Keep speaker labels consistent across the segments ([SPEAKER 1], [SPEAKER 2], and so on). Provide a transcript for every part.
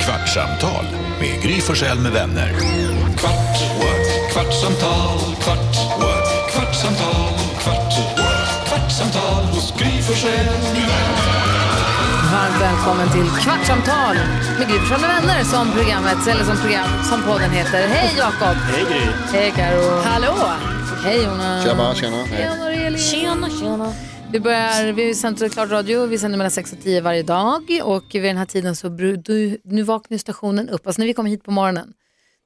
[SPEAKER 1] Kvartsamtal med Gry Forssell med vänner. Kvart, what? kvartsamtal, kvart, what? kvartsamtal, kvart, what? kvartsamtal hos Gry Forssell med vänner.
[SPEAKER 2] Varmt välkommen till Kvartsamtal med Gry Forssell med vänner som programmet, eller som program, som podden heter. Hej Jakob!
[SPEAKER 3] Hej Gry!
[SPEAKER 2] Hej Karo! Hallå! Hej Jonas!
[SPEAKER 4] Tjena, tjena.
[SPEAKER 2] Hej Aurelien! Tjena, tjena! Vi börjar, vi sänder klart radio, vi sänder mellan 6 och 10 varje dag och vid den här tiden så, bru- du, nu vaknar ju stationen upp, alltså när vi kommer hit på morgonen,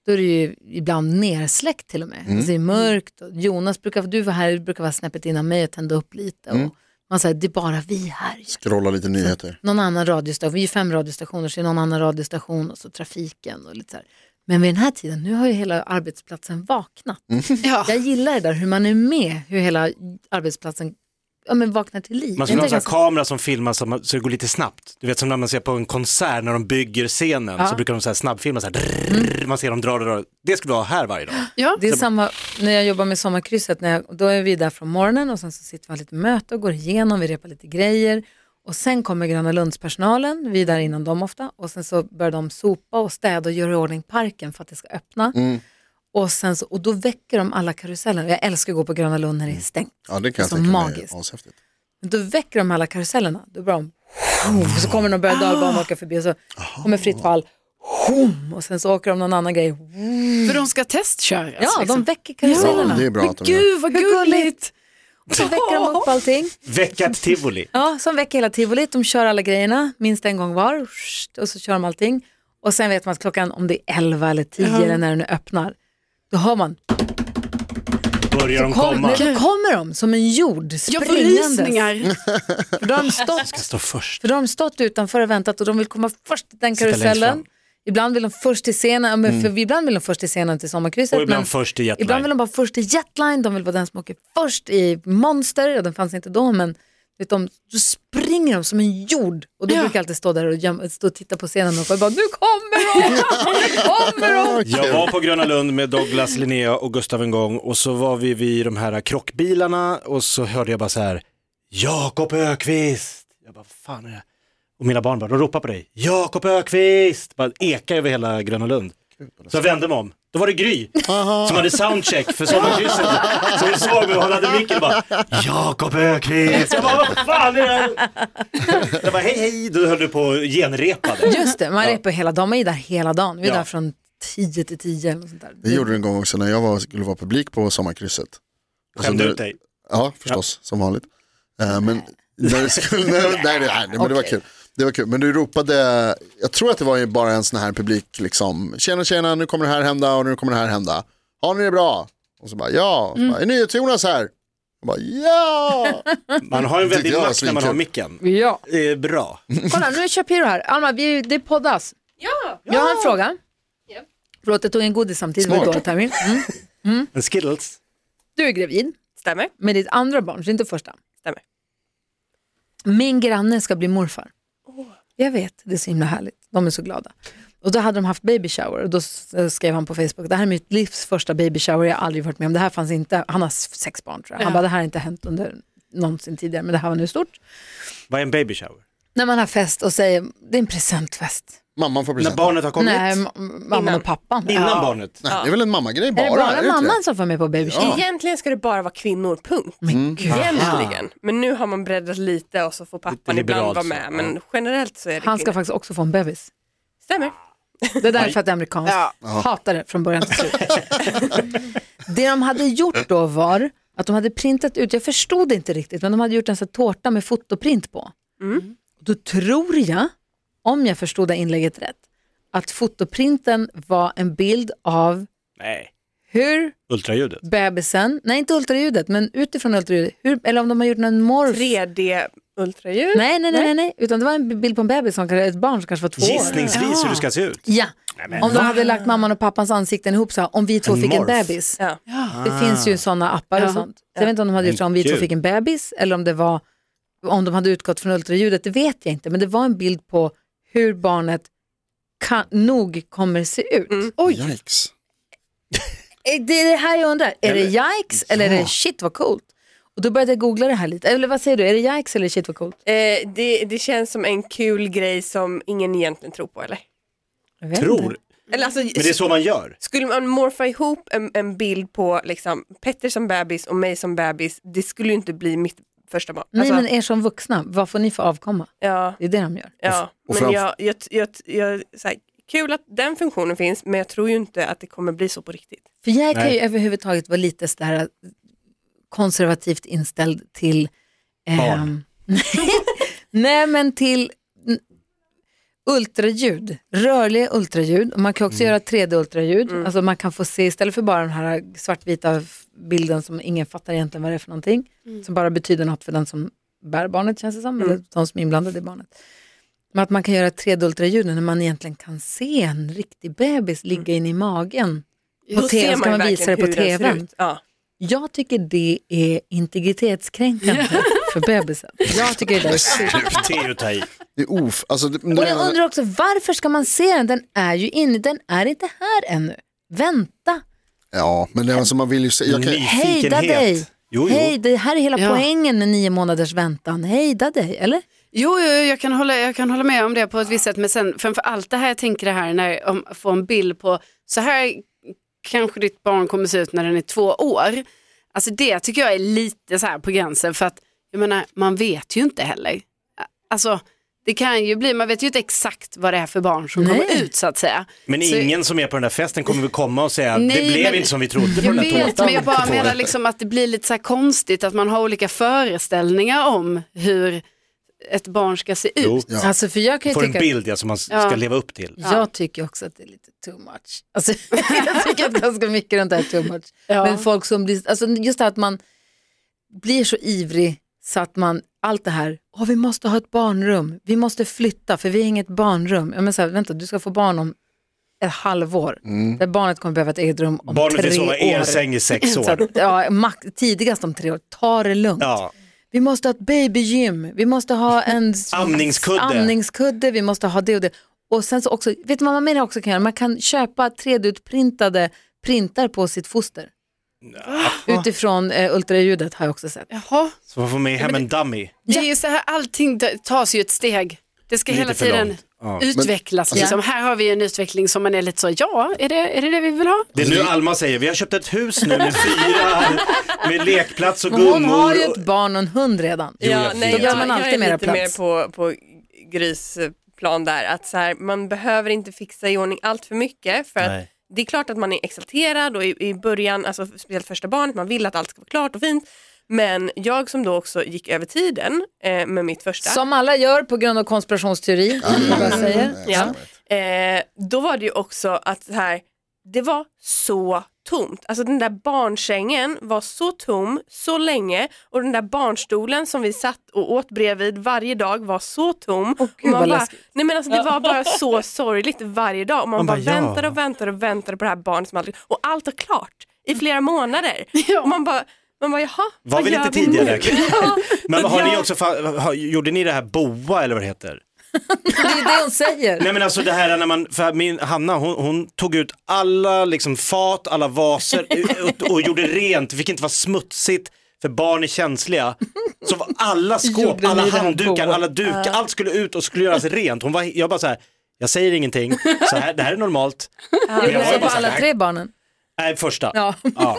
[SPEAKER 2] då är det ju ibland nersläckt till och med.
[SPEAKER 4] Mm.
[SPEAKER 2] Alltså det är mörkt och Jonas brukar, du var här, brukar vara snäppet innan mig och tända upp lite och man säger, det är bara vi här.
[SPEAKER 4] Mm. Scrolla lite nyheter.
[SPEAKER 2] någon annan radiostation, vi är ju fem radiostationer, så är det någon annan radiostation och så trafiken och lite så här. Men vid den här tiden, nu har ju hela arbetsplatsen vaknat.
[SPEAKER 4] Mm.
[SPEAKER 2] Jag gillar det där hur man är med, hur hela arbetsplatsen ja, men vaknar till liv.
[SPEAKER 3] Man
[SPEAKER 2] Det
[SPEAKER 3] skulle ha en
[SPEAKER 2] är
[SPEAKER 3] sån här
[SPEAKER 2] ganska-
[SPEAKER 3] kamera som filmar så man- så det går lite snabbt. Du vet som när man ser på en konsert när de bygger scenen så brukar de så här snabbfilma så här. drrrr, Man ser dem dra och dra. Det skulle vi ha här varje dag.
[SPEAKER 2] Det är samma när jag jobbar med sommarkrysset, när jag, då är vi där från morgonen och sen så sitter vi och har lite möte och går igenom, vi repar lite grejer och sen kommer Gröna Lundspersonalen, vi är där innan dem ofta och sen så börjar de sopa och städa och göra i ordning parken för att det ska öppna.
[SPEAKER 4] Mm.
[SPEAKER 2] Och, sen så, och då väcker de alla karusellerna, jag älskar att gå på Gröna Lund när det är stängt.
[SPEAKER 4] Mm. Ja, det kan jag
[SPEAKER 2] så
[SPEAKER 4] tänka mig
[SPEAKER 2] magiskt.
[SPEAKER 4] är ashäftigt.
[SPEAKER 2] Men då väcker de alla karusellerna. Då börjar de... Och så kommer de börja
[SPEAKER 4] Ah.
[SPEAKER 2] dalbanan åka förbi och så kommer Fritt fall. Hum, och sen så åker de någon annan grej.
[SPEAKER 5] För de ska testköras.
[SPEAKER 2] Ja, de
[SPEAKER 5] liksom.
[SPEAKER 2] väcker karusellerna.
[SPEAKER 4] Ja, det är bra att de gör.
[SPEAKER 5] Gud vad gulligt!
[SPEAKER 2] Och så väcker de upp allting.
[SPEAKER 3] Väcka ett tivoli.
[SPEAKER 2] Ja, som väcker hela tivolit. De kör alla grejerna minst en gång var. Och så kör de allting. Och sen vet man att klockan, om det är 11 eller 10 eller när den öppnar, då hör man,
[SPEAKER 3] Börjar de
[SPEAKER 2] kom,
[SPEAKER 3] komma.
[SPEAKER 2] nej, då kommer de som en jord
[SPEAKER 5] Jag får
[SPEAKER 2] springandes.
[SPEAKER 5] rysningar.
[SPEAKER 6] Mm.
[SPEAKER 2] För då har de stått
[SPEAKER 3] Ska stå först.
[SPEAKER 2] För då har de stått utanför och väntat och de vill komma först till den
[SPEAKER 3] Sitta längst
[SPEAKER 2] karusellen.
[SPEAKER 3] fram.
[SPEAKER 2] Ibland vill de först till scenen, ja, men för ibland vill de först till scenen till sommarkrysset.
[SPEAKER 3] Och ibland
[SPEAKER 2] men
[SPEAKER 3] först i Jetline.
[SPEAKER 2] Mm. Ibland vill de bara först i jetline, de vill vara den som åker först i monster, och den fanns inte då, men vet de, då springer de som en jord och då
[SPEAKER 5] Ja.
[SPEAKER 2] brukar jag alltid stå där och, göm- stå och titta på scenen och bara, nu kommer de, nu kommer de.
[SPEAKER 3] Jag var på Gröna Lund med Douglas, Linnea och Gustav en gång och så var vi vid de här krockbilarna och så hörde jag bara så här Jakob Ökvist. Jag bara, vad fan är det? Och mina barn bara, de ropar på dig. Jakob Ökvist. Bara eka över hela Gröna Lund. Så jag vände mig om. Då var det Gry som hade soundcheck för sommarkrysset. Så hon såg mig och hon hade micken och bara Jakob Ökvist. Jag bara, vad fan är det här? Jag bara, hej hej. Då höll du på och genrepade.
[SPEAKER 2] Just det, man är på hela dagen, man är där hela dagen, vi är
[SPEAKER 3] Ja.
[SPEAKER 2] där från 10 till 10 eller något sånt där.
[SPEAKER 4] Det gjorde det en gång också när jag var, skulle vara publik på sommarkrysset. Och så
[SPEAKER 3] Skämde
[SPEAKER 4] när-
[SPEAKER 3] ut dig.
[SPEAKER 4] Ja, förstås, som vanligt. Eh, men när det skulle, nej, nej, nej, men det var
[SPEAKER 2] Okej.
[SPEAKER 4] kul. Det var kul, men du ropade, jag tror att det var ju bara en sån här publik, liksom, tjena tjena, nu kommer det här hända och nu kommer det här hända. Har ni det bra? Och så bara, ja. Och så
[SPEAKER 2] Mm.
[SPEAKER 4] bara, är NyhetsJonas här? Jag bara, ja!
[SPEAKER 3] Man har en väldig
[SPEAKER 4] Tyckte jag var
[SPEAKER 3] makt när man har
[SPEAKER 4] svinkul.
[SPEAKER 3] micken.
[SPEAKER 2] Ja.
[SPEAKER 3] Det är Eh, bra.
[SPEAKER 2] Kolla, nu är Shapiro här. Alma, vi, det poddas. Ja. Jag har en fråga. Förlåt, jag tog en godis samtidigt.
[SPEAKER 4] Smart.
[SPEAKER 2] Smart. Dålig timing. Mm.
[SPEAKER 3] En Skittles.
[SPEAKER 2] Du är gravid
[SPEAKER 6] Stämmer.
[SPEAKER 2] med ditt andra barn, så inte första.
[SPEAKER 6] Stämmer.
[SPEAKER 2] Min granne ska bli morfar. Jag vet, det är så himla härligt. De är så glada. Och då hade de haft baby shower och då s- skrev han på Facebook, det här är mitt livs första baby shower, jag har aldrig varit med om, det här fanns inte, han har s- sex barn tror jag. Han bara, det här har inte hänt under någonsin tidigare, men det här var nu stort.
[SPEAKER 3] Vad är en baby shower?
[SPEAKER 2] När man har fest och säger, det är en presentfest.
[SPEAKER 4] Mamman får
[SPEAKER 3] När
[SPEAKER 4] present.
[SPEAKER 3] barnet har kommit?
[SPEAKER 2] Nej, ma- mamman
[SPEAKER 6] Innan.
[SPEAKER 2] och pappan.
[SPEAKER 3] Innan
[SPEAKER 2] Ja.
[SPEAKER 3] barnet?
[SPEAKER 4] Nej, det är väl en mammagrej bara?
[SPEAKER 2] Är det bara
[SPEAKER 4] det inte det?
[SPEAKER 2] mamman som får med på baby shower?
[SPEAKER 6] Egentligen ska det bara vara kvinnor, punkt.
[SPEAKER 2] Mm.
[SPEAKER 6] Egentligen. Men nu har man breddat lite och så får pappan
[SPEAKER 3] Lite
[SPEAKER 6] ibland
[SPEAKER 3] liberalt
[SPEAKER 6] vara
[SPEAKER 3] så,
[SPEAKER 6] med.
[SPEAKER 3] ja.
[SPEAKER 6] Men generellt så är det
[SPEAKER 2] Han ska
[SPEAKER 6] kvinnor.
[SPEAKER 2] faktiskt också få en bebis.
[SPEAKER 6] Stämmer.
[SPEAKER 2] Det är därför att det är amerikanskt.
[SPEAKER 6] Ja.
[SPEAKER 2] Hatar det från början till slut. det de hade gjort då var att de hade printat ut, jag förstod inte riktigt, men de hade gjort en sån här tårta med fotoprint på. Då tror jag, om jag förstod det inlägget rätt, att fotoprinten var en bild av
[SPEAKER 3] Nej.
[SPEAKER 2] hur
[SPEAKER 3] Ultraljudet?
[SPEAKER 2] bebisen, nej inte ultraljudet, men utifrån ultraljudet, hur, eller om de har gjort någon morf.
[SPEAKER 6] 3D ultraljud.
[SPEAKER 2] Nej, nej, nej, nej, nej, utan det var en bild på en bebis, som, ett barn som kanske var två år.
[SPEAKER 3] Gissningsvis hur det ska se ut.
[SPEAKER 2] Ja, om de hade lagt mamman och pappans ansikten ihop så här, om vi två
[SPEAKER 3] En
[SPEAKER 2] fick en
[SPEAKER 3] morf.
[SPEAKER 2] bebis.
[SPEAKER 6] Ja.
[SPEAKER 2] Det finns ju sådana appar och sånt. Så jag vet inte om de hade gjort så om vi två
[SPEAKER 3] Kul.
[SPEAKER 2] fick en bebis eller om det var om de hade utgått från ultraljudet, det vet jag inte. Men det var en bild på hur barnet kan, nog kommer se ut.
[SPEAKER 6] Mm.
[SPEAKER 2] Oj,
[SPEAKER 4] Yikes.
[SPEAKER 2] är det är det här jag undrar. Är det yikes eller är det shit vad coolt? Och då började jag googla det här lite. Eller vad säger du, är det yikes eller shit vad coolt?
[SPEAKER 6] Eh, det, det känns som en kul grej som ingen egentligen tror på eller?
[SPEAKER 2] Jag vet inte.
[SPEAKER 3] Tror.
[SPEAKER 6] Eller alltså,
[SPEAKER 3] Men det är så man gör.
[SPEAKER 6] Skulle man morfa ihop en, en bild på liksom, Petter som bebis och mig som bebis, det skulle ju inte bli mitt första barn.
[SPEAKER 2] Nej
[SPEAKER 6] Alltså,
[SPEAKER 2] men er som vuxna, vad får ni för avkomma?
[SPEAKER 6] ja,
[SPEAKER 2] Det är det de gör.
[SPEAKER 6] ja.
[SPEAKER 4] och
[SPEAKER 6] men
[SPEAKER 4] framf-
[SPEAKER 6] jag, jag, jag, jag, så här, kul att den funktionen finns, men jag tror ju inte att det kommer bli så på riktigt.
[SPEAKER 2] För jag kan
[SPEAKER 3] Nej.
[SPEAKER 2] ju överhuvudtaget vara lite sådär konservativt inställd till... ehm,
[SPEAKER 3] Barn.
[SPEAKER 2] Nej men till mm, ultraljud, rörliga ultraljud. Och Man kan
[SPEAKER 3] Mm.
[SPEAKER 2] också göra 3D-ultraljud. Alltså man kan få se istället för bara den här svartvita f- bilden som ingen fattar egentligen vad det är för någonting. Som bara betyder något för den som bär barnet känns det som, eller de som är inblandade i barnet. Men att man kan göra 3D-ultraljud när man egentligen kan se en riktig bebis ligga in i magen. På te-
[SPEAKER 6] Då ser
[SPEAKER 2] ska man
[SPEAKER 6] ju
[SPEAKER 2] visa det
[SPEAKER 6] verkligen
[SPEAKER 2] på
[SPEAKER 6] hur den ser
[SPEAKER 2] TV:n.
[SPEAKER 6] ut. Ja.
[SPEAKER 2] Jag tycker det är integritetskränkande för bebisen. Jag tycker det är sjukt.
[SPEAKER 3] Det är ju att ta i.
[SPEAKER 4] Det är of... Alltså, det,
[SPEAKER 2] Och jag undrar också varför ska man se den? Den är ju inne, den är inte här ännu. Vänta,
[SPEAKER 4] ja, men det är, alltså, man vill ju se. Jag kan,
[SPEAKER 2] hejda dig.
[SPEAKER 3] Nyfikenhet. Jo, jo.
[SPEAKER 2] Hej, det här är hela
[SPEAKER 5] Ja.
[SPEAKER 2] poängen med nio månaders väntan. Hejda dig, eller?
[SPEAKER 5] Jo, jo, jo, jag kan, hålla, jag kan hålla med om det på ett visst sätt, men sen framför allt det här jag tänker det här när om få en bild på så här kanske ditt barn kommer se ut när den är två år. Alltså det tycker jag är lite så här på gränsen för att jag menar man vet ju inte heller. Alltså det kan ju bli, man vet ju inte exakt vad det är för barn som
[SPEAKER 2] Nej.
[SPEAKER 5] kommer ut så att säga.
[SPEAKER 3] Men
[SPEAKER 5] Så-
[SPEAKER 3] ingen som är på den där festen kommer väl komma och säga
[SPEAKER 5] Nej,
[SPEAKER 3] det blev
[SPEAKER 5] men-
[SPEAKER 3] inte som vi trodde på
[SPEAKER 5] Jag
[SPEAKER 3] den där
[SPEAKER 5] vet,
[SPEAKER 3] tårtan.
[SPEAKER 5] men jag bara
[SPEAKER 3] på
[SPEAKER 5] menar
[SPEAKER 3] våren."
[SPEAKER 5] liksom att det blir lite så här konstigt att man har olika föreställningar om hur ett barn ska se ut.
[SPEAKER 3] Jo,
[SPEAKER 4] Ja.
[SPEAKER 2] Alltså, för jag kan ju
[SPEAKER 3] får en
[SPEAKER 2] tycka...
[SPEAKER 3] bild ja, som man s- ska
[SPEAKER 5] Ja.
[SPEAKER 3] leva upp till.
[SPEAKER 2] Jag tycker också att det är lite too much. Alltså, jag tycker att ganska mycket runt det här är too much.
[SPEAKER 5] Ja.
[SPEAKER 2] Men folk som blir, alltså just det här att man blir så ivrig så att man, allt det här, åh vi måste ha ett barnrum, vi måste flytta för vi har inget barnrum. Ja, men så här, vänta, du ska få barn om ett halvår, där barnet kommer behöva ett eget rum om
[SPEAKER 3] Mm. Barnet
[SPEAKER 2] tre
[SPEAKER 3] vill sova i
[SPEAKER 2] år.
[SPEAKER 3] er säng i sex
[SPEAKER 2] Så att,
[SPEAKER 3] år.
[SPEAKER 2] ja, max, tidigast om tre år, ta det lugnt.
[SPEAKER 3] Ja.
[SPEAKER 2] Vi måste ha ett babygym, vi måste ha en
[SPEAKER 3] Amningskudde.
[SPEAKER 2] amningskudde, vi måste ha det och det. Och sen så också, vet du vad man mer också kan göra? Man kan köpa 3D-utprintade printar på sitt foster. Utifrån eh, ultraljudet har jag också sett.
[SPEAKER 5] Jaha.
[SPEAKER 3] Så man får med hem en dummy.
[SPEAKER 5] Det är ju så här, allting d- tas ju ett steg. Det ska
[SPEAKER 3] Lite
[SPEAKER 5] hela
[SPEAKER 3] för
[SPEAKER 5] tiden
[SPEAKER 3] långt. Ja.
[SPEAKER 5] utvecklas. liksom. Här har vi en utveckling som man är lite så, ja, är det är det, det vi vill ha?
[SPEAKER 3] Det är nu Alma säger, vi har köpt ett hus nu med fyra, med lekplats och
[SPEAKER 2] Men
[SPEAKER 3] gummor.
[SPEAKER 2] Hon har ju
[SPEAKER 3] och-
[SPEAKER 2] ett barn och en hund redan.
[SPEAKER 3] Jo, jag
[SPEAKER 6] Ja,
[SPEAKER 3] vet.
[SPEAKER 6] nej,
[SPEAKER 2] Då gör man
[SPEAKER 6] jag-
[SPEAKER 2] alltid
[SPEAKER 6] jag är
[SPEAKER 2] mera
[SPEAKER 6] lite mer
[SPEAKER 2] plats.
[SPEAKER 6] på, på grisplan där, att så här, man behöver inte fixa i ordning allt för mycket för att
[SPEAKER 3] Nej.
[SPEAKER 6] det är klart att man är exalterad och i, i början, alltså speciellt första barnet, man vill att allt ska vara klart och fint. Men jag som då också gick över tiden eh, med mitt första,
[SPEAKER 2] Som alla gör på grund av konspirationsteori. vad
[SPEAKER 4] Mm.
[SPEAKER 2] jag säger.
[SPEAKER 6] ja, eh, då var det ju också att så här, det var så tomt. Alltså den där barnsängen var så tom så länge och den där barnstolen som vi satt och åt bredvid varje dag var så tom. och
[SPEAKER 2] vad
[SPEAKER 6] man bara,
[SPEAKER 2] läskigt.
[SPEAKER 6] nej men alltså det var bara så sorgligt varje dag och man,
[SPEAKER 3] Man
[SPEAKER 6] bara,
[SPEAKER 3] bara, ja.
[SPEAKER 6] väntade och väntade och väntade på det här barnet som aldrig, och allt var klart i flera månader. Och man bara, man bara jaha,
[SPEAKER 3] Var vi
[SPEAKER 6] gör
[SPEAKER 3] lite
[SPEAKER 6] nu?
[SPEAKER 3] tidigare?
[SPEAKER 6] Ja,
[SPEAKER 3] Men
[SPEAKER 6] så
[SPEAKER 3] har ni
[SPEAKER 6] jag-
[SPEAKER 3] också, fa- har, gjorde ni det här boa eller vad det heter?
[SPEAKER 2] Det är det hon säger.
[SPEAKER 3] Nej men alltså det här när man, för min Hanna hon, hon tog ut alla liksom fat, alla vaser och, och gjorde rent, det fick inte vara smutsigt för barn är känsliga. Så var alla skåp,
[SPEAKER 2] Gjorde
[SPEAKER 3] alla
[SPEAKER 2] ni det här
[SPEAKER 3] handdukar,
[SPEAKER 2] då?
[SPEAKER 3] alla dukar, allt skulle ut och skulle göras rent. Hon var, jag bara så här, jag säger ingenting, så här, det här är normalt. Men jag
[SPEAKER 2] Det
[SPEAKER 6] alltså,
[SPEAKER 3] var
[SPEAKER 2] säger
[SPEAKER 3] ju
[SPEAKER 2] på
[SPEAKER 3] bara så här,
[SPEAKER 2] alla
[SPEAKER 3] "Det här-
[SPEAKER 2] tre barnen.
[SPEAKER 3] Nej, första.
[SPEAKER 2] Ja.
[SPEAKER 3] Ja.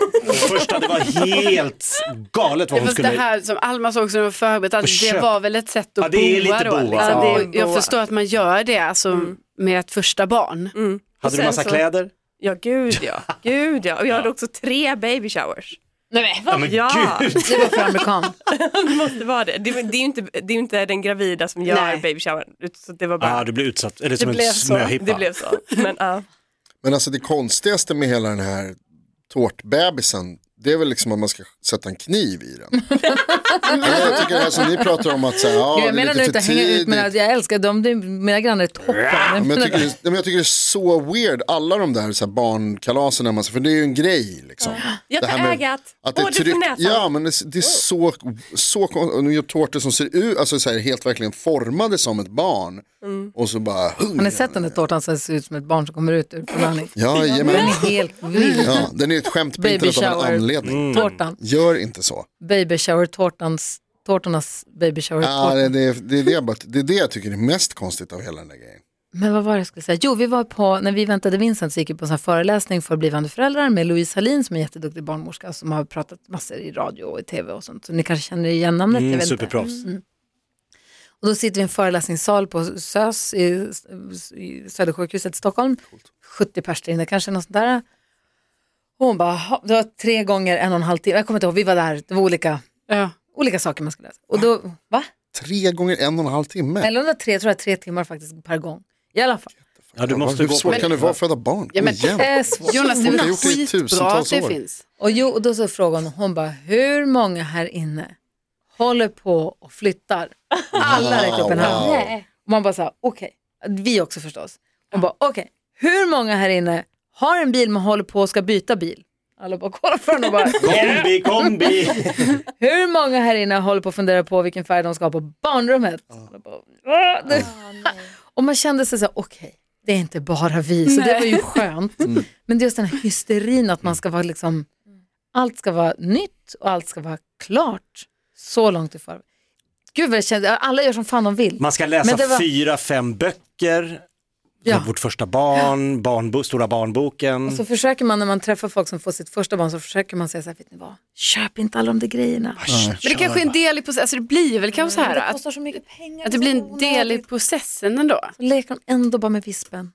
[SPEAKER 3] Första, det var helt galet vad hon
[SPEAKER 5] Fast
[SPEAKER 3] skulle...
[SPEAKER 5] det här som Alma såg som var förberett, alltså, det
[SPEAKER 3] köp.
[SPEAKER 5] var väl ett sätt att
[SPEAKER 3] Ja, det är
[SPEAKER 5] boa
[SPEAKER 3] lite
[SPEAKER 5] då?
[SPEAKER 3] boa. Mm.
[SPEAKER 5] Liksom.
[SPEAKER 6] Ja, det är
[SPEAKER 5] Och jag
[SPEAKER 6] boa.
[SPEAKER 5] förstår att man gör det alltså, med ett första barn.
[SPEAKER 6] Mm. Och
[SPEAKER 3] Hade du
[SPEAKER 6] sen
[SPEAKER 3] massa
[SPEAKER 6] så-
[SPEAKER 3] kläder?
[SPEAKER 6] Ja gud ja, gud ja. Och jag hade också tre baby showers.
[SPEAKER 5] Nej,
[SPEAKER 3] Ja, men
[SPEAKER 6] Ja.
[SPEAKER 3] gud!
[SPEAKER 2] Det var för amerikan.
[SPEAKER 6] Det måste vara det. Det, det, är ju inte, det är ju inte den gravida som gör
[SPEAKER 5] Nej.
[SPEAKER 6] baby showern. ut- Så det var bara,
[SPEAKER 3] Ja, du blev utsatt, eller som
[SPEAKER 5] blev
[SPEAKER 3] en
[SPEAKER 5] så.
[SPEAKER 3] snöhippa.
[SPEAKER 6] det blev så. Men, ja.
[SPEAKER 4] Men alltså det konstigaste med hela den här tårtbebisen, det är väl liksom att man ska sätta en kniv i den. Eller jag tycker det här som ni pratar om att säga, ja,
[SPEAKER 2] jag
[SPEAKER 4] det är
[SPEAKER 2] menar nu
[SPEAKER 4] lite
[SPEAKER 2] inte
[SPEAKER 4] för
[SPEAKER 2] att hänga ut,
[SPEAKER 4] tidigt.
[SPEAKER 2] men att jag älskar dem, det är, mina grannar är toppen.
[SPEAKER 4] Ja, Men jag, tycker, det är- men jag tycker det är så weird, alla de där, så här barnkalasen, när man, för det är ju en grej. Liksom.
[SPEAKER 6] Jag
[SPEAKER 4] Det
[SPEAKER 6] tar
[SPEAKER 4] här med
[SPEAKER 6] ägat,
[SPEAKER 4] Att det är alltså.
[SPEAKER 6] både för
[SPEAKER 4] tryck,
[SPEAKER 6] näsan.
[SPEAKER 4] ja men det, det är så, så kon- och nu gör tårtor som ser ut, alltså så här, helt verkligen formade som ett barn. Och så bara,
[SPEAKER 2] Har ni sett den där tårtan som ser ut som ett barn som kommer ut ur förvandling?
[SPEAKER 4] ja,
[SPEAKER 2] Den
[SPEAKER 4] jajamän.
[SPEAKER 2] är helt
[SPEAKER 4] Mm.
[SPEAKER 2] vild.
[SPEAKER 4] ja, den är ett skämt printat av
[SPEAKER 2] shower.
[SPEAKER 4] en anledning.
[SPEAKER 3] Mm.
[SPEAKER 2] Tårtan,
[SPEAKER 4] Gör inte så.
[SPEAKER 2] baby shower tårtans, tårtornas baby shower
[SPEAKER 4] Ja, Äh, det,
[SPEAKER 2] tårtan.
[SPEAKER 4] det, det, är det, jag bara- det är det jag tycker är mest konstigt av hela den där grejen.
[SPEAKER 2] Men vad var det jag skulle säga? Jo, vi var på, när vi väntade Vincent så gick vi på en sån här föreläsning för blivande föräldrar med Louise Hallin som är en jätteduktig barnmorska som har pratat massor i radio och i tv och sånt. Så ni kanske känner igen namnet? jag
[SPEAKER 3] Mm,
[SPEAKER 2] vet inte.
[SPEAKER 3] superproffs.
[SPEAKER 2] Och då sitter vi i en föreläsningssal på SÖS i, i Södersjukhuset i Stockholm. 70 pers där inne kanske, något sånt där. Och hon bara, "Jaha." det var tre gånger en och en halv timme. Jag kommer inte ihåg, vi var där, det var olika,
[SPEAKER 5] Ja.
[SPEAKER 2] olika saker man skulle läsa. Och då, va?
[SPEAKER 4] Tre gånger en och en halv timme.
[SPEAKER 2] Eller om det var tre, jag tror jag tre timmar faktiskt per gång. I alla fall.
[SPEAKER 3] Ja, du måste
[SPEAKER 4] Hur
[SPEAKER 3] gå på
[SPEAKER 4] svårt kan det vara att föda barn?
[SPEAKER 5] Ja,
[SPEAKER 4] Kom
[SPEAKER 5] men-
[SPEAKER 4] igen.
[SPEAKER 2] Det är svårt.
[SPEAKER 5] Jonas, det är
[SPEAKER 4] Hon har
[SPEAKER 5] väl
[SPEAKER 4] gjort det i
[SPEAKER 5] skitbra
[SPEAKER 4] tusentals
[SPEAKER 5] att det
[SPEAKER 4] år.
[SPEAKER 5] finns.
[SPEAKER 2] Och, jo, och då så frågade hon, hon bara, hur många här inne håller på och flyttar? Alla räckte upp en hand. Och man bara sa, okej, vi också förstås. Hon bara, okej, hur många här inne har en bil men håller på och ska byta bil? Alla bara kollar på henne och bara,
[SPEAKER 3] Kombi, kombi!
[SPEAKER 2] hur många här inne håller på att fundera på vilken färg de ska ha på barnrummet? Alla bara, "Åh, Ah, det-" och man kände sig så här, okej, det är inte bara vi, så det var ju skönt.
[SPEAKER 5] Mm.
[SPEAKER 2] Men det är just den här hysterin att man ska vara liksom, allt ska vara nytt och allt ska vara klart så långt i förväg. Gud vad jag kände, alla gör som fan de vill.
[SPEAKER 3] Man ska
[SPEAKER 2] Men det
[SPEAKER 3] läsa
[SPEAKER 2] var-
[SPEAKER 3] fyra, fem böcker,
[SPEAKER 2] Ja. Alltså-
[SPEAKER 3] vårt första barn, barnbo, stora barnboken.
[SPEAKER 2] Och så försöker man när man träffar folk som får sitt första barn så försöker man säga så här, vet ni vad, köp inte alla de där grejerna.
[SPEAKER 5] Men det kanske är en del i processen, alltså det blir väl kanske så här
[SPEAKER 2] Det
[SPEAKER 5] att,
[SPEAKER 2] kostar så mycket pengar.
[SPEAKER 5] att det blir en
[SPEAKER 2] så
[SPEAKER 5] del i
[SPEAKER 2] onödigt.
[SPEAKER 5] processen ändå.
[SPEAKER 2] Så leker de ändå bara med vispen.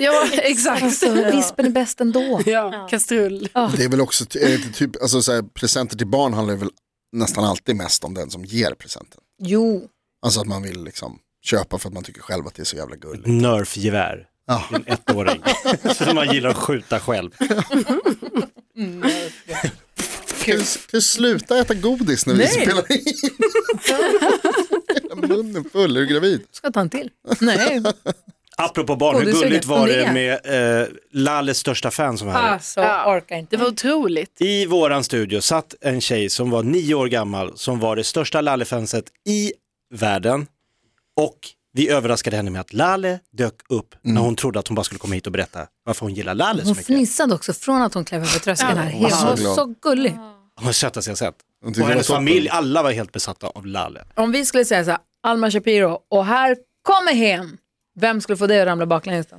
[SPEAKER 5] Ja, exakt.
[SPEAKER 2] Alltså, vispen är bäst ändå.
[SPEAKER 5] Ja, kastrull.
[SPEAKER 4] Det är väl också, är det inte typ, alltså så här, presenter till barn handlar väl nästan alltid mest om den som ger presenten.
[SPEAKER 2] Jo,
[SPEAKER 4] Alltså att man vill liksom köpa för att man tycker själv att det är så jävla gulligt.
[SPEAKER 3] Nerfgevär.
[SPEAKER 4] Ja.
[SPEAKER 3] En ettåring. Som man gillar att skjuta själv.
[SPEAKER 4] Kan du, kan du sluta äta godis när vi
[SPEAKER 2] Nej.
[SPEAKER 4] spelar in? Hela Munnen full, är du gravid?
[SPEAKER 2] ska jag ta en till? Nej,
[SPEAKER 3] Apropå barn, hur
[SPEAKER 2] Godisögat
[SPEAKER 3] gulligt var det
[SPEAKER 2] från
[SPEAKER 3] med eh, Lalles största fan som var här?
[SPEAKER 2] alltså
[SPEAKER 5] Ja.
[SPEAKER 2] orkar inte.
[SPEAKER 5] Det var otroligt.
[SPEAKER 3] I våran studio satt en tjej som var nio år gammal som var det största Lallefanset i världen. Och vi överraskade henne med att Lalle dök upp
[SPEAKER 4] Mm.
[SPEAKER 3] när hon trodde att hon bara skulle komma hit och berätta varför hon gillar Lalle så
[SPEAKER 2] Hon
[SPEAKER 3] mycket.
[SPEAKER 2] fnissade också från att hon klev över tröskeln här.
[SPEAKER 4] Hon var så
[SPEAKER 2] Hon var
[SPEAKER 4] glad.
[SPEAKER 2] så gullig.
[SPEAKER 3] Hon sötaste jag sett.
[SPEAKER 4] Hon tyckte
[SPEAKER 3] Och
[SPEAKER 4] det var
[SPEAKER 3] hennes
[SPEAKER 4] toppen.
[SPEAKER 3] familj, alla var helt besatta av Lalle.
[SPEAKER 2] Om vi skulle säga så här, Alma Shapiro, och här kommer hen. Vem skulle få dig att ramla baklänges då?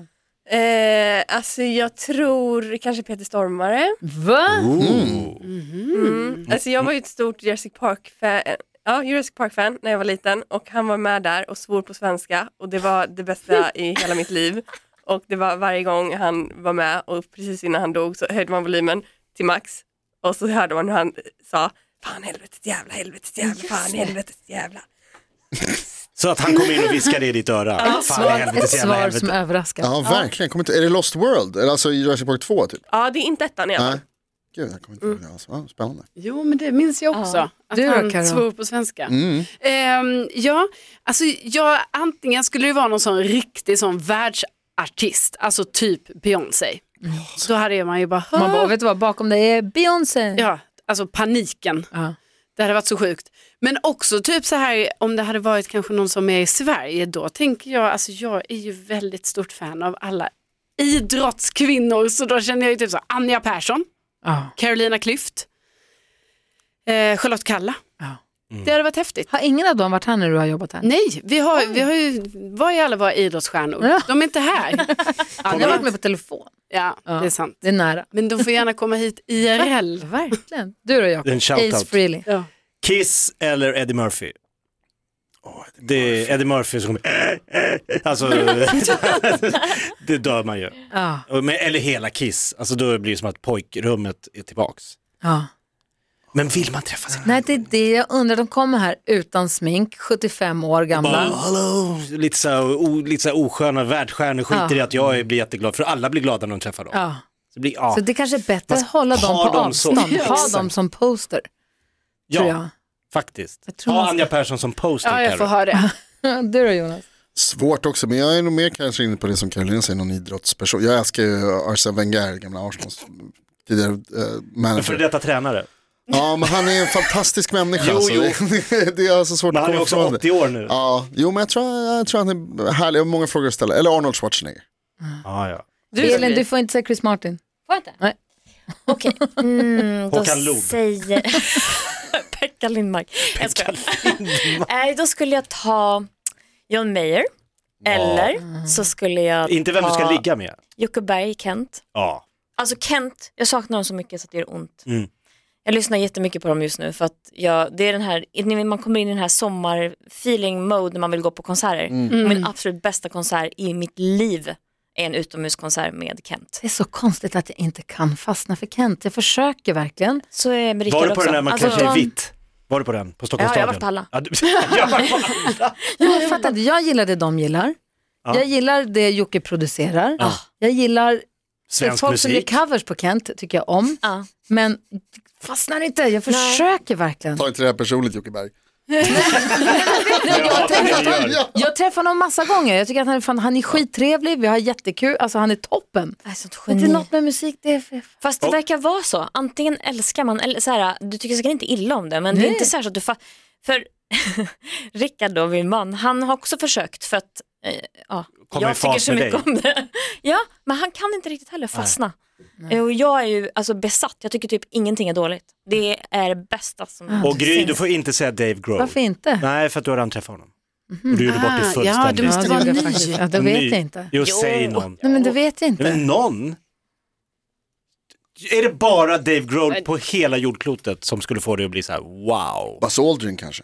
[SPEAKER 6] Eh, alltså jag tror kanske Peter Stormare.
[SPEAKER 2] Va?
[SPEAKER 4] Mm.
[SPEAKER 6] Alltså jag var ju ett stort Jurassic Park-fan ja, Jurassic Park-fan när jag var liten och han var med där och svor på svenska och det var det bästa i hela mitt liv. Och det var varje gång han var med och precis innan han dog så höjde man volymen till max och så hörde man hur han sa Fan helvetet jävla, helvetet jävla, fan helvetet jävla.
[SPEAKER 3] Så att han kom in och viskade i ditt öra. Fan i
[SPEAKER 2] Ett
[SPEAKER 3] helvetes jävla
[SPEAKER 2] svar som
[SPEAKER 3] helvete.
[SPEAKER 2] överraskar.
[SPEAKER 4] Ja, verkligen. Kommer inte, är det Lost World? Eller alltså i Jurassic Park 2 typ?
[SPEAKER 6] Ja, det är inte ettan i alla fall.
[SPEAKER 4] Nej. Gud, jag kommer inte ihåg det alls. Ja, Spännande.
[SPEAKER 5] Jo, men det minns jag också.
[SPEAKER 2] Ja.
[SPEAKER 5] Att
[SPEAKER 2] Du då,
[SPEAKER 5] han
[SPEAKER 2] Karo?
[SPEAKER 5] svor på svenska.
[SPEAKER 4] Mm.
[SPEAKER 5] Ehm, ja, alltså jag, antingen skulle det vara någon sån riktig sån världsartist, alltså typ Beyoncé. Så hade man ju bara,
[SPEAKER 2] Man bara, vet du vad, bakom dig är Beyoncé.
[SPEAKER 5] ja, alltså paniken.
[SPEAKER 2] Ja.
[SPEAKER 5] Det hade varit så sjukt. Men också typ så här om det hade varit kanske någon som är i Sverige då tänker jag, alltså jag är ju väldigt stort fan av alla idrottskvinnor så då känner jag ju typ så här, Anja Persson,
[SPEAKER 2] Ja.
[SPEAKER 5] Carolina Klüft, eh, Charlotte Kalla.
[SPEAKER 2] Ja.
[SPEAKER 5] Det hade varit häftigt.
[SPEAKER 2] Har ingen av dem varit här när du har jobbat här?
[SPEAKER 5] Nej, vi har, vi har ju, vad är alla våra idrottsstjärnor?
[SPEAKER 2] Ja.
[SPEAKER 5] De är inte här.
[SPEAKER 2] Jag har varit med på telefon.
[SPEAKER 5] Ja,
[SPEAKER 2] Ja.
[SPEAKER 5] det är sant.
[SPEAKER 2] Det är nära.
[SPEAKER 5] Men de får gärna komma hit IRL.
[SPEAKER 2] Verkligen. Du då Jakob?
[SPEAKER 3] En shoutout.
[SPEAKER 2] Ace Frehley.
[SPEAKER 5] Ja.
[SPEAKER 3] Kiss eller Eddie Murphy? Det är Eddie Murphy som kommer, alltså det dör man ju.
[SPEAKER 2] Ja.
[SPEAKER 3] Och med- Eller hela Kiss, alltså då blir det som att pojkrummet är tillbaks.
[SPEAKER 2] Ja.
[SPEAKER 3] Men vill man träffa sin
[SPEAKER 2] Nej, det är det jag undrar. De kommer här utan smink, 75 år gamla.
[SPEAKER 3] Bara, hallå, lite så, här, o, lite så här osköna världsstjärnor skiter
[SPEAKER 2] Ja.
[SPEAKER 3] i att jag blir jätteglad för alla blir glada när de träffar dem.
[SPEAKER 2] Ja.
[SPEAKER 3] Så det blir, ja.
[SPEAKER 2] Så det kanske är bättre att
[SPEAKER 3] Fast
[SPEAKER 2] hålla dem
[SPEAKER 3] ha
[SPEAKER 2] på
[SPEAKER 3] dem så-
[SPEAKER 2] avstånd. Ha
[SPEAKER 3] Exakt.
[SPEAKER 2] dem som poster, tror
[SPEAKER 3] ja,
[SPEAKER 2] jag.
[SPEAKER 3] faktiskt.
[SPEAKER 2] Jag tror man
[SPEAKER 3] Ha
[SPEAKER 2] ska-
[SPEAKER 3] Anja Persson som poster
[SPEAKER 5] Ja, jag får
[SPEAKER 3] Karo.
[SPEAKER 5] ha det.
[SPEAKER 2] Du då Jonas?
[SPEAKER 4] Svårt också, men jag är nog mer kanske inne på det som Caroline säger, någon idrottsperson. Jag älskar ju Arsene Wenger, gamla Arsenals tidigare eh,
[SPEAKER 3] Men För
[SPEAKER 4] manager.
[SPEAKER 3] detta tränare.
[SPEAKER 4] Ja, men han är en fantastisk människa.
[SPEAKER 3] Jo,
[SPEAKER 4] alltså.
[SPEAKER 3] jo.
[SPEAKER 4] Det, det är alltså svårt
[SPEAKER 3] Men
[SPEAKER 4] att
[SPEAKER 3] han är
[SPEAKER 4] komma
[SPEAKER 3] också
[SPEAKER 4] ifrån det.
[SPEAKER 3] 80 år nu.
[SPEAKER 4] Ja, jo, men jag tror, jag tror han är härlig. Jag har många frågor att ställa. Eller Arnold Schwarzenegger.
[SPEAKER 3] Ja, ja.
[SPEAKER 5] Du,
[SPEAKER 2] Elin, du får inte säga Chris Martin.
[SPEAKER 7] Får jag inte?
[SPEAKER 2] Nej.
[SPEAKER 7] Okej. Mm, då
[SPEAKER 3] Håkan Loob.
[SPEAKER 7] säger... Pekka Lindmark. Jag skojar. Nej, då skulle jag ta John Mayer. Eller så skulle jag
[SPEAKER 3] Inte vem du ska
[SPEAKER 7] ta
[SPEAKER 3] ligga med.
[SPEAKER 7] Jockeberg, Kent.
[SPEAKER 3] Ja.
[SPEAKER 7] Alltså Kent, jag saknar dem så mycket så att det gör ont.
[SPEAKER 3] Mm.
[SPEAKER 7] Jag lyssnar jättemycket på dem just nu för att jag, det är den här, ni vet, man kommer in i den här sommarfeeling mode när man vill gå på konserter.
[SPEAKER 3] Mm.
[SPEAKER 7] Min absolut bästa konsert i mitt liv är en utomhuskonsert med Kent.
[SPEAKER 2] Det är så konstigt att jag inte kan fastna för Kent. Jag försöker verkligen.
[SPEAKER 7] Så är med
[SPEAKER 3] Var
[SPEAKER 7] Rickard
[SPEAKER 3] du på
[SPEAKER 7] också.
[SPEAKER 3] den där man
[SPEAKER 7] Alltså,
[SPEAKER 3] klär sig i vitt? Var du på den? På Stockholms
[SPEAKER 7] Ja, jag har
[SPEAKER 3] stadion?
[SPEAKER 7] varit
[SPEAKER 3] Ja, du- jag har varit på alla.
[SPEAKER 2] Jag fattar inte. Jag gillar det de gillar.
[SPEAKER 3] Ja.
[SPEAKER 2] Jag gillar det Jocke producerar. Jag gillar det
[SPEAKER 3] Svensk
[SPEAKER 2] folk som gör
[SPEAKER 3] musik.
[SPEAKER 2] covers på Kent, tycker jag om.
[SPEAKER 7] Ja.
[SPEAKER 2] Men fastnar inte, jag försöker verkligen.
[SPEAKER 4] Ta inte det här personligt Jocke Berg.
[SPEAKER 3] Ja, det gör det.
[SPEAKER 4] Ja.
[SPEAKER 2] Jag träffar honom massa gånger. Jag tycker att han är, fan, han är skittrevlig, vi har jättekul, alltså han är toppen.
[SPEAKER 7] Jag är sånt
[SPEAKER 2] Men Det är
[SPEAKER 7] geni.
[SPEAKER 2] något med musik, det är för...
[SPEAKER 7] Fast det
[SPEAKER 3] Och-
[SPEAKER 7] verkar vara så. Antingen älskar man, eller så här, du tycker säkert inte illa om det, men det är
[SPEAKER 2] Nej.
[SPEAKER 7] inte särskilt att du fa- För Rickard då, min man, han har också försökt för att eh, ja,
[SPEAKER 3] Komma i
[SPEAKER 7] jag tycker
[SPEAKER 3] fas
[SPEAKER 7] så
[SPEAKER 3] med
[SPEAKER 7] mycket om det. Ja, men han kan inte riktigt heller fastna. Eh, Och jag är ju alltså, besatt, jag tycker typ ingenting är dåligt. Det är det bästa som
[SPEAKER 3] Och Gry,
[SPEAKER 7] finns.
[SPEAKER 3] du får inte säga Dave Grohl.
[SPEAKER 2] Varför inte?
[SPEAKER 3] Nej, för att du har redan träffat honom.
[SPEAKER 7] Mhm.
[SPEAKER 3] Och du gjorde bort det
[SPEAKER 5] Ah, ja, du
[SPEAKER 3] fullständigt. Mm.
[SPEAKER 5] måste
[SPEAKER 2] det
[SPEAKER 5] vara
[SPEAKER 2] gjorde jag
[SPEAKER 5] ny.
[SPEAKER 2] faktiskt. Ja, det vet jag inte.
[SPEAKER 3] Jo,
[SPEAKER 7] Jo.
[SPEAKER 3] säg någon.
[SPEAKER 2] Nej, men det vet jag inte.
[SPEAKER 3] Men någon? Är det bara Dave Grohl på hela jordklotet som skulle få dig att bli så här: wow?
[SPEAKER 4] Buzz Aldrin kanske.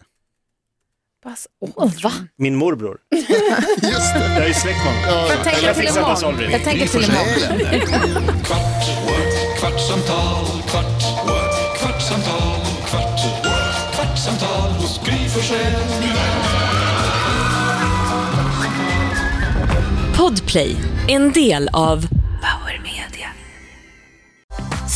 [SPEAKER 2] Buzz Aldrin. Va?
[SPEAKER 3] Min morbror.
[SPEAKER 4] Just det.
[SPEAKER 3] Jag är släkt med honom.
[SPEAKER 2] Jag tänker
[SPEAKER 3] Jag
[SPEAKER 2] till
[SPEAKER 3] fixar Buzz
[SPEAKER 2] imorgon.
[SPEAKER 3] Aldrin.
[SPEAKER 2] Jag tänker
[SPEAKER 1] Gry
[SPEAKER 2] till imorgon.
[SPEAKER 1] Forssell med vänner. Kvart, what? kvartsamtal, kvart, what? kvartsamtal, kvart, what? kvartsamtal hos Gry Forssell med vänner.
[SPEAKER 8] Podplay, en del av Power Media.